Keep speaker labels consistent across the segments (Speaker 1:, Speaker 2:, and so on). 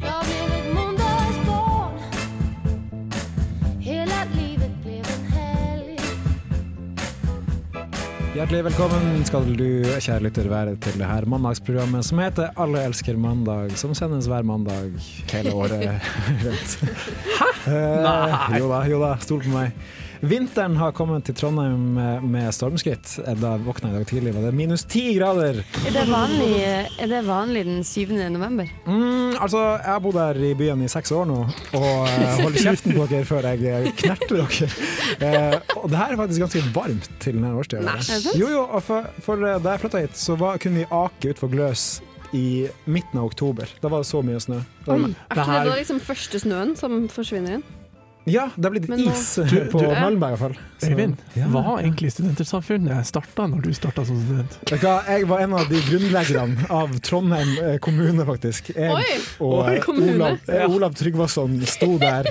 Speaker 1: Jag blev ett måndagsbarn Hela livet blev en helg
Speaker 2: Hjertelig velkommen skal du, kjære lytter, være til det her mandagsprogrammet som heter Alle elsker mandag, som sendes hver mandag hele året rundt. Hæ?
Speaker 3: Nei.
Speaker 2: jo da, jo da, stol på meg. Vinteren har kommet til Trondheim med- med stormskritt. Da jeg våkna i dag tidlig, var det minus ti grader.
Speaker 4: Er det vanlig, er det vanlig den 7. november?
Speaker 2: Mm, altså, jeg har bodd her i byen i seks år nå, og eh, holder kjeften på dere før jeg eh, knerter dere. Eh, og det her er faktisk ganske varmt til denne årstida.
Speaker 4: det sant?
Speaker 2: Jo, jo, og for, for eh, da jeg flytta hit, så var, kunne vi ake utfor Gløs i midten av oktober. Da var det så mye snø. Da-
Speaker 5: Oi, er
Speaker 3: det
Speaker 5: ikke det
Speaker 3: her-
Speaker 5: da liksom første snøen som forsvinner inn?
Speaker 2: Ja, det har blitt
Speaker 5: Men nå-
Speaker 2: is
Speaker 3: Du- du
Speaker 2: på
Speaker 3: er-
Speaker 2: Malmberg i hvert fall. Så-
Speaker 3: Øyvind,
Speaker 2: Ja.
Speaker 3: hva har egentlig Studentersamfunnet starta når du starta som student?
Speaker 2: Vet du hva, jeg var en av de grunnleggerne av Trondheim eh, kommune, faktisk. Jeg
Speaker 5: Oi!
Speaker 2: og
Speaker 5: Oi,
Speaker 2: eh,
Speaker 5: kommune.
Speaker 2: Olav, eh, Olav Tryggvason sto der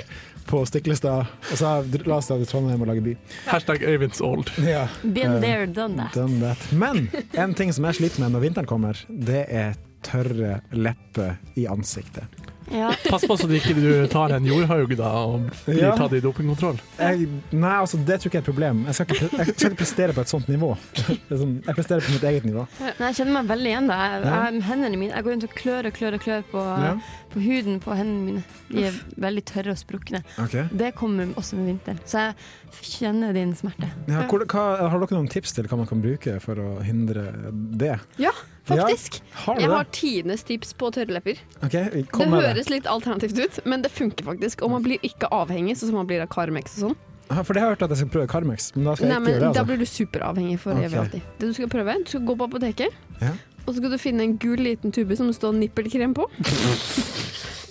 Speaker 2: på Stiklestad og sa la oss dra til Trondheim og lage by.
Speaker 3: Hashtag Øyvinds old.
Speaker 2: Ja,
Speaker 4: Been there, done that.
Speaker 2: done that. Men en ting som jeg sliter med når vinteren kommer, det er tørre lepper i ansiktet.
Speaker 4: Ja.
Speaker 3: Pass på så du ikke du tar en jordhaug da og blir
Speaker 2: Ja.
Speaker 3: tatt i dopingkontroll.
Speaker 2: Jeg, nei, altså, det tror ikke jeg er et problem. Jeg skal ikke, jeg skal ikke prestere på et sånt nivå. Det er sånn, Jeg presterer på mitt eget nivå.
Speaker 4: Nei, jeg kjenner meg veldig igjen. da Jeg,
Speaker 2: Ja.
Speaker 4: jeg, hendene mine, jeg går rundt og klør og klør og klør på,
Speaker 2: Ja.
Speaker 4: på huden på hendene mine. De er veldig tørre og sprukne. Det kommer også med vinteren. Så jeg kjenner din smerte.
Speaker 2: Ja, hvor, hva, har dere noen tips til hva man kan bruke for å hindre det?
Speaker 5: Ja, faktisk.
Speaker 2: Har
Speaker 5: Jeg
Speaker 2: dere
Speaker 5: har
Speaker 2: det?
Speaker 5: tidenes tips på tørrlepper.
Speaker 2: Ok,
Speaker 5: Det
Speaker 2: kom med det.
Speaker 5: høres litt alternativt ut, men det funker faktisk. Og man blir ikke avhengig, sånn som man blir av Carmex og sånn.
Speaker 2: Ja, For det har jeg hørt at jeg skal prøve Carmex, men da skal
Speaker 5: Nei,
Speaker 2: jeg ikke
Speaker 5: men
Speaker 2: gjøre det.
Speaker 5: Da
Speaker 2: Altså.
Speaker 5: blir du superavhengig for
Speaker 2: Ok.
Speaker 5: evig og alltid. Det du skal prøve, du skal gå på apoteket,
Speaker 2: Ja.
Speaker 5: og så skal du finne en gul liten tube som det står nippelkrem på.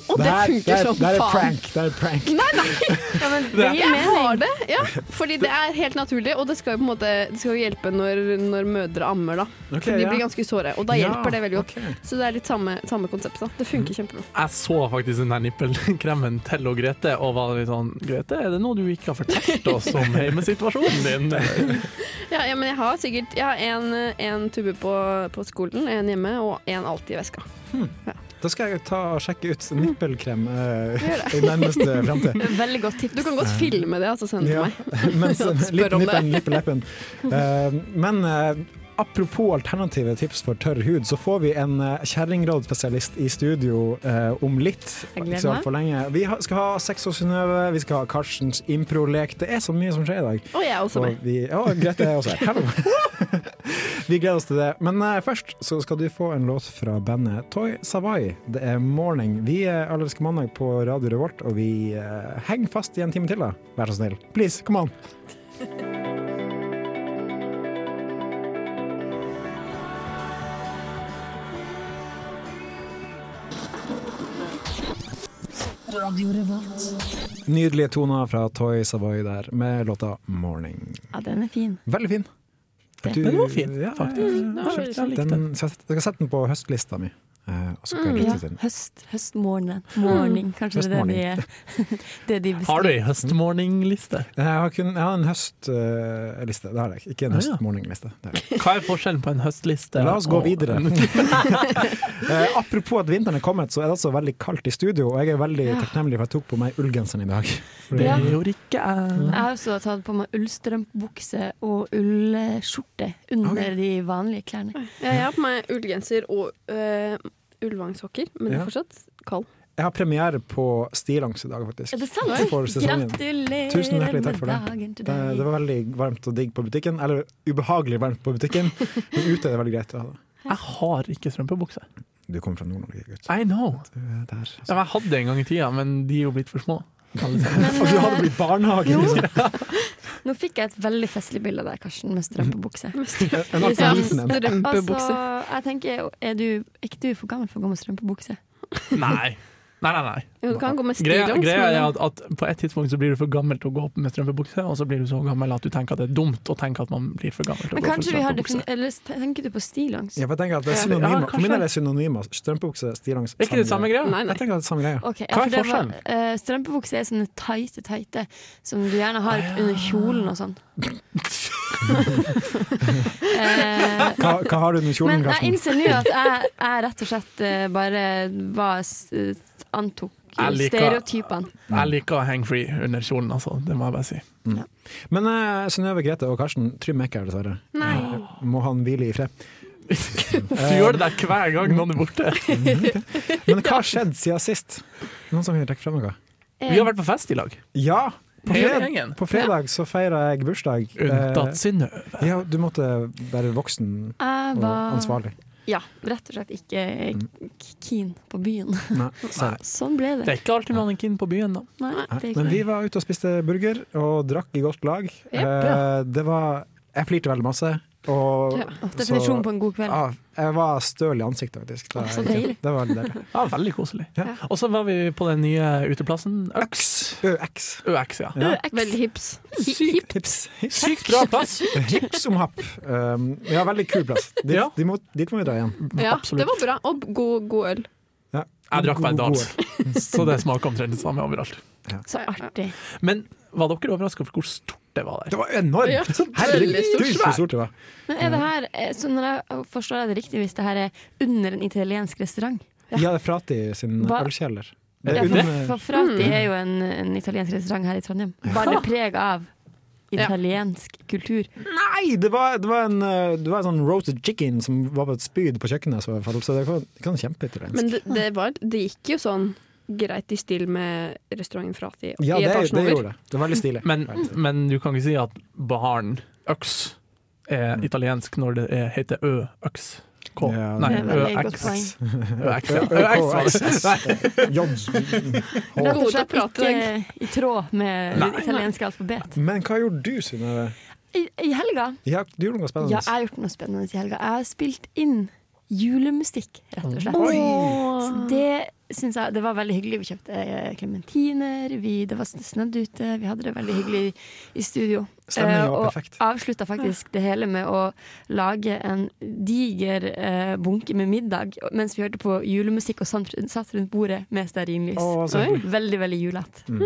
Speaker 5: Og det
Speaker 2: her- det
Speaker 5: funker
Speaker 2: er-
Speaker 5: som
Speaker 2: det er et
Speaker 5: faen.
Speaker 2: prank. Det er et prank.
Speaker 4: Ja, men det gir
Speaker 5: Jeg har
Speaker 4: mening.
Speaker 5: det, ja. Fordi det er helt naturlig, og det skal jo på en måte det skal jo hjelpe når, når mødre ammer, da.
Speaker 2: Ok,
Speaker 5: For de
Speaker 2: ja.
Speaker 5: blir ganske såre, og da
Speaker 2: Ja, Mhm.
Speaker 5: hjelper det veldig godt.
Speaker 2: ok.
Speaker 5: Så det er litt samme, samme konsept. da. Det funker kjempebra.
Speaker 3: Jeg så faktisk den her nippelkremen til og Grete og var litt sånn Grete, er det noe du ikke har fortalt oss om hjemmesituasjonen din?
Speaker 5: Ja, ja, men jeg har sikkert Jeg har en, en tube på, på skolen, en hjemme, og en alltid i veska.
Speaker 2: Da skal jeg ta og sjekke ut
Speaker 5: Mm.
Speaker 2: nippelkrem eh, i nærmeste framtid.
Speaker 4: Veldig godt tips.
Speaker 5: Du kan godt filme det, altså sende det
Speaker 2: Ja,
Speaker 5: til meg.
Speaker 2: mens, litt
Speaker 5: om det.
Speaker 2: nippen, nippen, leppen. Eh, men eh, apropos alternative tips for tørr hud, så får vi en uh, kjerringrådspesialist i studio eh, om litt.
Speaker 4: Jeg gleder
Speaker 2: Ikke så altfor lenge. Vi ha, skal ha Sex og Synnøve, vi skal ha Karstens improlek. Det er så mye som skjer i dag.
Speaker 5: Og jeg er også med.
Speaker 2: Og vi, ja, Grete er også her. Hallo. vi gleder oss til det. Men eh, først så skal du få en låt fra bandet Toy Savai. Det er 'Morning'. Vi er Allerske mandag på Radio Revolt, og vi eh, henger fast i en time til, da. Vær så snill. Please, kom an. Nydelige toner fra Toy Savoy der, med låta 'Morning'.
Speaker 4: Ja, den er fin.
Speaker 2: Veldig fin. Du-
Speaker 3: Den var fin,
Speaker 2: ja,
Speaker 3: faktisk. Jeg likte den.
Speaker 2: Den, så jeg skal sette den på høstlista mi. eh, Og så skal
Speaker 3: Mm,
Speaker 2: jeg
Speaker 4: Ja,
Speaker 2: lytte til den.
Speaker 4: høst, høstmorgen. Morning, kanskje det er det de, det de
Speaker 3: Har du
Speaker 4: beskriver.
Speaker 3: ei høstmorning-liste?
Speaker 2: Jeg har, kun, jeg har en høstliste, det har jeg ikke. Ikke en
Speaker 3: Ah, ja.
Speaker 2: høstmorgenliste. det har jeg ikke.
Speaker 3: Hva er forskjellen på en høstliste
Speaker 2: La oss gå
Speaker 3: og-
Speaker 2: videre. Eh, apropos at vinteren er kommet, så er det altså veldig kaldt i studio, og jeg er veldig takknemlig for at jeg tok på meg ullgenseren i dag.
Speaker 3: Det
Speaker 4: Ja.
Speaker 3: gjorde ikke jeg.
Speaker 4: Jeg har også tatt på meg ullstrømpebukse og ullskjorte under
Speaker 2: Ok.
Speaker 4: de vanlige klærne.
Speaker 5: Ja, jeg har på meg ullgenser og øh, ullvangssokker, men det
Speaker 2: Ja.
Speaker 5: er fortsatt kald.
Speaker 2: Jeg har premiere på stillongs i dag, faktisk.
Speaker 4: Er det sant?
Speaker 2: For sesongen.
Speaker 4: Gratulerer
Speaker 2: Tusen hjertelig takk for det.
Speaker 4: med dagen til
Speaker 2: Det,
Speaker 4: deg.
Speaker 2: det var veldig varmt og digg på butikken. Eller ubehagelig varmt på butikken. Men ute er det veldig greit å ha det.
Speaker 3: Jeg har ikke strømpebukse.
Speaker 2: Du kommer fra Nord-Norge, gutt.
Speaker 3: I know.
Speaker 2: Du er der.
Speaker 3: Ja, men Jeg hadde en gang i tida, men de er jo blitt for små. alle sammen.
Speaker 4: Men,
Speaker 2: Og du hadde
Speaker 4: eh,
Speaker 2: blitt barnehage! Liksom.
Speaker 4: nå fikk jeg et veldig festlig bilde av deg, Karsten, med strømpebukse.
Speaker 2: En
Speaker 5: Ja,
Speaker 2: altfor liten en.
Speaker 4: Altså,
Speaker 5: Strømpebukse.
Speaker 4: jeg tenker, er du, er ikke du for gammel for å gå med strømpebukse?
Speaker 3: Nei. Nei, nei, nei.
Speaker 5: Jo, Du kan gå med
Speaker 3: Greia,
Speaker 5: stillongs.
Speaker 3: greia er
Speaker 5: men-
Speaker 3: at, at på et tidspunkt så blir du for gammel til å gå opp med strømpebukse, og så blir du så gammel at du tenker at det er dumt å tenke at man blir for gammel til å
Speaker 4: Men
Speaker 3: gå opp med
Speaker 4: kanskje vi har
Speaker 3: strømpebukse.
Speaker 4: defini- Eller tenker du på stillongs?
Speaker 2: Ja, for jeg tenker at det er
Speaker 3: Ja,
Speaker 2: synonymer.
Speaker 3: kanskje.
Speaker 2: For min del er synonymer. Strømpebukse, stillongs
Speaker 3: Er ikke det samme greia?
Speaker 5: Nei, nei.
Speaker 2: Jeg tenker at det er samme greia.
Speaker 4: Ok, ja,
Speaker 3: Hva er
Speaker 4: for det var-
Speaker 3: forskjellen?
Speaker 4: eh, strømpebukser er sånne tighte, tighte som du gjerne har
Speaker 3: Ah.
Speaker 4: under kjolen og sånn. eh,
Speaker 2: Hva, hva har du under kjolen,
Speaker 4: men jeg
Speaker 2: Karsten?
Speaker 4: innser nå at jeg, jeg rett og slett eh, bare var s- eh, antok
Speaker 3: Jeg liker-
Speaker 4: stereotypene.
Speaker 3: Jeg liker å hang free under kjolen, altså. Det må jeg bare si.
Speaker 2: Men eh, Synnøve Grete og Karsten, Trym er ikke her, dessverre. Eh,
Speaker 5: Nei.
Speaker 2: Må han hvile i fred.
Speaker 3: Du gjør det der hver gang noen er borte.
Speaker 2: Men hva har skjedd siden sist? Noen som vil trekke frem noe?
Speaker 4: Eh.
Speaker 3: Vi har vært på fest i lag.
Speaker 2: Ja! På,
Speaker 3: Hele
Speaker 2: fred
Speaker 3: gjengen.
Speaker 2: på fredag så feira jeg bursdag.
Speaker 3: Unntatt Synnøve.
Speaker 2: Eh, ja, du måtte være voksen
Speaker 4: Jeg
Speaker 2: og
Speaker 4: var
Speaker 2: ansvarlig.
Speaker 4: ja, rett og slett ikke
Speaker 2: Mm.
Speaker 4: k- keen på byen.
Speaker 2: Nei, sorry.
Speaker 4: Sånn ble
Speaker 3: Det
Speaker 4: det.
Speaker 3: er ikke alltid man er keen på byen, da.
Speaker 4: Nei, det
Speaker 2: Men
Speaker 4: gikk
Speaker 2: vi var ute og spiste burger og drakk i godt lag. Eh, det var Jeg flirte veldig masse. Og
Speaker 5: Ja.
Speaker 4: Åh, Definisjonen på en god kveld.
Speaker 2: Ja, jeg var støl i ansiktet, faktisk. Da
Speaker 4: Å,
Speaker 2: jeg gikk
Speaker 4: så
Speaker 2: ut.
Speaker 4: deilig.
Speaker 2: Det var veldig deilig.
Speaker 3: Ja, veldig koselig.
Speaker 2: Ja.
Speaker 3: Og så var vi på den nye uteplassen. Øks.
Speaker 2: ØX.
Speaker 3: Øx, ja.
Speaker 2: Ja.
Speaker 5: Veldig hips.
Speaker 3: Sykt,
Speaker 2: Hips.
Speaker 3: sykt bra plass.
Speaker 2: Hips om happ. Um, ja, veldig kul plass. Dit,
Speaker 3: Ja.
Speaker 2: de må, dit må vi dra igjen.
Speaker 5: Ja,
Speaker 3: Absolutt.
Speaker 5: det var bra. Og god, god øl.
Speaker 2: Ja.
Speaker 3: Jeg drakk meg en
Speaker 2: God-
Speaker 3: dans, så det smaker omtrent det samme overalt.
Speaker 4: Så artig.
Speaker 3: Men var dere overraska over hvor stort det var der?
Speaker 2: Det var enormt!
Speaker 5: Ja, veldig
Speaker 2: Herregud,
Speaker 5: stort.
Speaker 2: så stort det var.
Speaker 4: Men er det her, eh, så når jeg forstår jeg det riktig, hvis det her er under en italiensk restaurant?
Speaker 2: Ja, det er Frati sin
Speaker 4: Hva-
Speaker 2: ølkjeller. Det
Speaker 4: Ja,
Speaker 2: er
Speaker 4: for,
Speaker 2: under- Mm.
Speaker 4: for Frati er jo en, en italiensk restaurant her i Trondheim. Bare preg av italiensk kultur.
Speaker 2: Nei, det var, det, var en, uh, det var en sånn roasted chicken som var på et spyd på kjøkkenet. Så, så det kan, det kan kjempe til
Speaker 5: Men det, det, var, det gikk jo sånn greit i stil med restauranten Frati
Speaker 2: Ja,
Speaker 5: i
Speaker 2: det,
Speaker 5: etasjen
Speaker 2: det
Speaker 5: over.
Speaker 2: gjorde det. Det var veldig stilig.
Speaker 3: Men,
Speaker 2: Veldig stilig.
Speaker 3: men du kan ikke si at baren Øks er italiensk når det er, heter Ø-Øks. K.
Speaker 2: Ja,
Speaker 3: Nei,
Speaker 4: Det er veldig godt
Speaker 3: Ø-X.
Speaker 4: poeng.
Speaker 3: Ø-X, ja. Ø-X, var det. Nei.
Speaker 2: J.
Speaker 4: Rett og
Speaker 5: Gode
Speaker 4: slett
Speaker 5: pratlegg.
Speaker 4: ikke i tråd med
Speaker 3: Nei.
Speaker 4: det italienske alfabet.
Speaker 2: Men hva gjorde du, Synnøve?
Speaker 4: I, I helga
Speaker 2: Ja, du gjorde noe
Speaker 4: Ja,
Speaker 2: spennende.
Speaker 4: jeg har gjort noe spennende i helga. Jeg har spilt inn julemusikk, rett og slett. Så det syns jeg Det var veldig hyggelig. Vi kjøpte eh, klementiner, det var snødd ute, vi hadde det veldig hyggelig i studio.
Speaker 2: Stemningen
Speaker 4: Eh,
Speaker 2: var
Speaker 4: og
Speaker 2: perfekt.
Speaker 4: avslutta faktisk det hele med å lage en diger eh, bunke med middag mens vi hørte på julemusikk og satt satt rundt bordet med stearinlys.
Speaker 2: Å, så
Speaker 5: Oi.
Speaker 2: hyggelig.
Speaker 4: Veldig, veldig julete.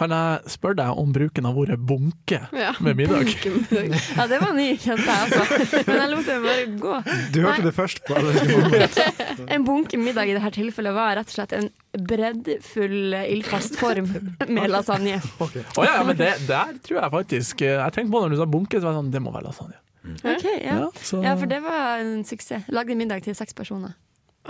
Speaker 3: Kan jeg spørre deg om bruken av ordet bunke
Speaker 5: Ja.
Speaker 3: med middag?
Speaker 4: Ja, det var ny, kjente jeg også. Men jeg lot det bare gå.
Speaker 2: Du hørte
Speaker 4: Nei.
Speaker 2: det først på alle sekunder.
Speaker 4: En bunke middag i dette tilfellet var rett og slett en breddfull eh, ildfast form med lasagne.
Speaker 3: Å ja, ja, men det der tror jeg faktisk eh, Jeg tenkte på når du sa bunke, så var jeg sånn, det må være lasagne.
Speaker 4: Ok, ja.
Speaker 3: så-
Speaker 4: ja, for det var en suksess. Lagde middag til seks personer.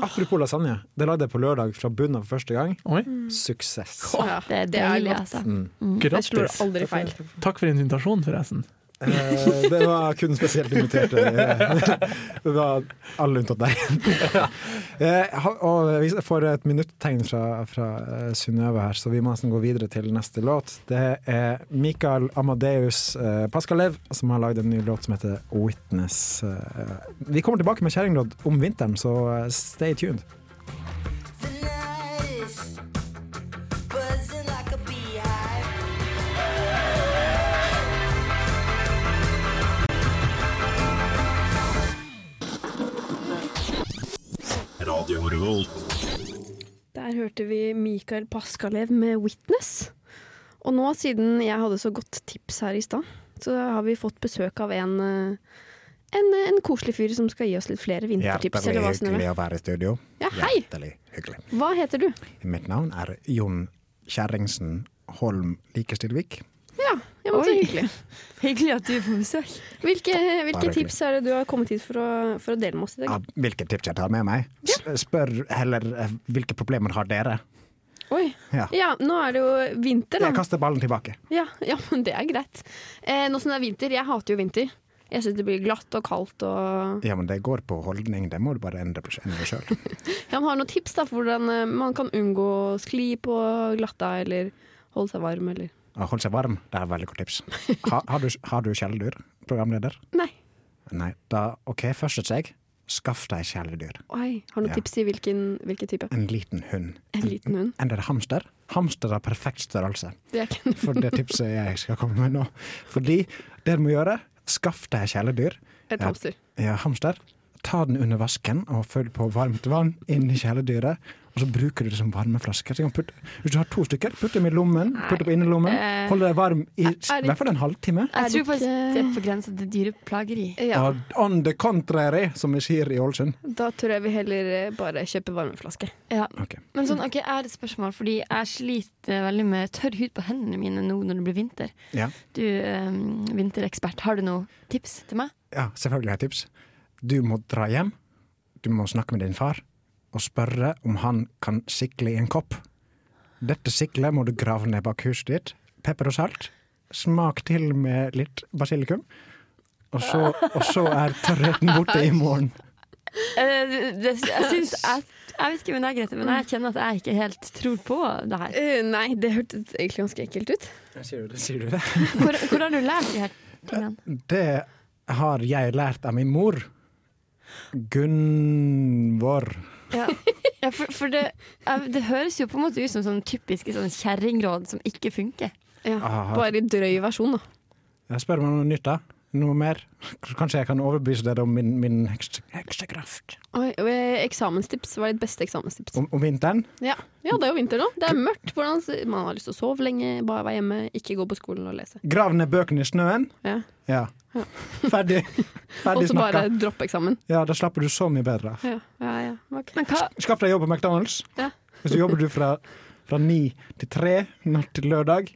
Speaker 2: Apropos lasagne. Det lagde jeg på lørdag fra bunnen av for første gang.
Speaker 3: Oi,
Speaker 4: Mm.
Speaker 2: Suksess. Mm.
Speaker 5: Ja,
Speaker 4: Det er deilig, altså.
Speaker 5: Jeg slår
Speaker 3: grattis.
Speaker 5: aldri feil.
Speaker 3: Takk for invitasjonen, forresten.
Speaker 2: Eh, det var kun spesielt inviterte. eh, Det var alle unntatt deg. Eh, ha- Og vi får et minuttegn fra, fra eh, Synnøve her, så vi må nesten gå videre til neste låt. Det er Mikael Amadeus eh, Paskalev som har lagd en ny låt som heter 'Witness'. Eh, Vi kommer tilbake med kjerringråd om vinteren, så eh, stay tuned.
Speaker 5: Der hørte vi Mikael Paskalev med 'Witness'. Og nå, siden jeg hadde så godt tips her i stad, så har vi fått besøk av en, eh, en, en koselig fyr som skal gi oss litt flere vintertips. Eller hva, Synnøve?
Speaker 2: å være i studio.
Speaker 5: Ja, hei!
Speaker 2: hyggelig.
Speaker 5: Hva heter du?
Speaker 2: Mitt navn er Jon Kjerringsen Holm Likestilvik.
Speaker 5: Ja, ja men så
Speaker 4: Oi.
Speaker 5: hyggelig.
Speaker 4: Hyggelig at du er på besøk.
Speaker 5: Hvilke, hvilke
Speaker 2: hyggelig.
Speaker 5: tips er det du har kommet hit for å, for å dele med oss i dag?
Speaker 2: Av hvilke tips jeg Ah, tar med meg? S- Spør heller eh, hvilke problemer har dere?
Speaker 5: Oi.
Speaker 2: Ja.
Speaker 5: Ja, nå er det jo vinter,
Speaker 2: Jeg
Speaker 5: da.
Speaker 2: kaster ballen tilbake.
Speaker 5: Ja, ja men det er greit. Eh, nå som det er vinter, jeg hater jo vinter. Jeg syns det blir glatt og kaldt og
Speaker 2: Ja, men det går på holdning. Det må du bare endre på endre sjøl.
Speaker 5: Ja, men har du noen tips da for hvordan eh, man kan unngå å skli på glatta, eller holde seg varm, eller
Speaker 2: Ah, Hold seg varm. Det er et veldig godt tips. Ha, har du, har du kjæledyr? Programleder?
Speaker 5: Nei.
Speaker 2: Nei. Da, OK, først et skjegg. Skaff deg kjæledyr.
Speaker 5: Oi, har du noen
Speaker 2: Ja.
Speaker 5: tips til hvilken, hvilken type?
Speaker 2: En liten hund.
Speaker 5: En liten hund.
Speaker 2: Enn det er hamster. Hamster er perfekt størrelse.
Speaker 5: Det er ikke
Speaker 2: For det tipset jeg skal komme med nå. Fordi det du må gjøre, skaff deg kjæledyr.
Speaker 5: et hamster.
Speaker 2: Ja, eh, hamster. Ta den under vasken og følg på varmt vann inn i kjæledyret. Og så bruker du det som varmeflaske. Så kan du putte, hvis du har to stykker, putt dem i lommen. Putt dem i innerlommen.
Speaker 5: Eh,
Speaker 2: Hold deg varm i
Speaker 5: er det-
Speaker 2: i hvert fall en halvtime.
Speaker 5: Er det
Speaker 4: Jeg tror faktisk
Speaker 5: ikke-
Speaker 4: det er på grensa til dyreplageri.
Speaker 5: Ja,
Speaker 2: Og On the contrary, som vi sier i Ålesund.
Speaker 5: da tror jeg vi heller eh, bare kjøper varmeflaske.
Speaker 4: Ja.
Speaker 2: Ok.
Speaker 4: Men sånn, ok, jeg har et spørsmål, fordi jeg sliter eh, veldig med tørr hud på hendene mine nå når det blir vinter.
Speaker 2: Ja.
Speaker 4: Du, ehm, vinterekspert, har du noen tips til meg?
Speaker 2: ja, selvfølgelig har jeg tips. Du må dra hjem. Du må snakke med din far og spørre om han kan sikle i en kopp. Dette siklet må du grave ned bak huset ditt. Pepper og salt. Smak til med litt basilikum. Og så, og så er tørrheten borte i morgen.
Speaker 4: Eh, det, jeg, syns, jeg, jeg vet ikke med deg, Grete, men jeg kjenner at jeg ikke helt tror på det her.
Speaker 5: Eh, nei, det hørtes egentlig ganske ekkelt ut.
Speaker 2: Sier du det? Sier du det?
Speaker 4: Hvor, hvor har du lært de her tingene?
Speaker 2: Det har jeg lært av min mor. Gunvor.
Speaker 4: Ja, ja for, for det, jeg, det høres jo på en måte ut som sånn typiske sånn kjerringråd som ikke funker.
Speaker 5: Ja.
Speaker 2: Ah.
Speaker 5: Bare i drøy versjon, da.
Speaker 2: Jeg spør meg om noe nytt, da. Noe mer? Kanskje jeg kan overbevise dere om min, min hekse- heksekraft.
Speaker 5: Oi, og, eh, eksamenstips var ditt beste eksamenstips.
Speaker 2: Om, om vinteren?
Speaker 5: Ja. ja, det er jo vinter nå. Det er mørkt. Hvordan, man har lyst til å sove lenge, bare være hjemme, ikke gå på skolen og lese.
Speaker 2: Grav ned bøkene i snøen.
Speaker 5: Ja.
Speaker 2: Ja. Ferdig.
Speaker 5: Og
Speaker 2: Ferdig
Speaker 5: så bare
Speaker 2: snakka.
Speaker 5: droppe eksamen.
Speaker 2: Ja, da slapper du så mye bedre.
Speaker 5: Ja, ja, ja. ok.
Speaker 4: Men hva,
Speaker 2: Skaff deg jobb på McDonald's.
Speaker 5: Ja.
Speaker 2: Hvis du jobber du fra, fra ni til tre natt til lørdag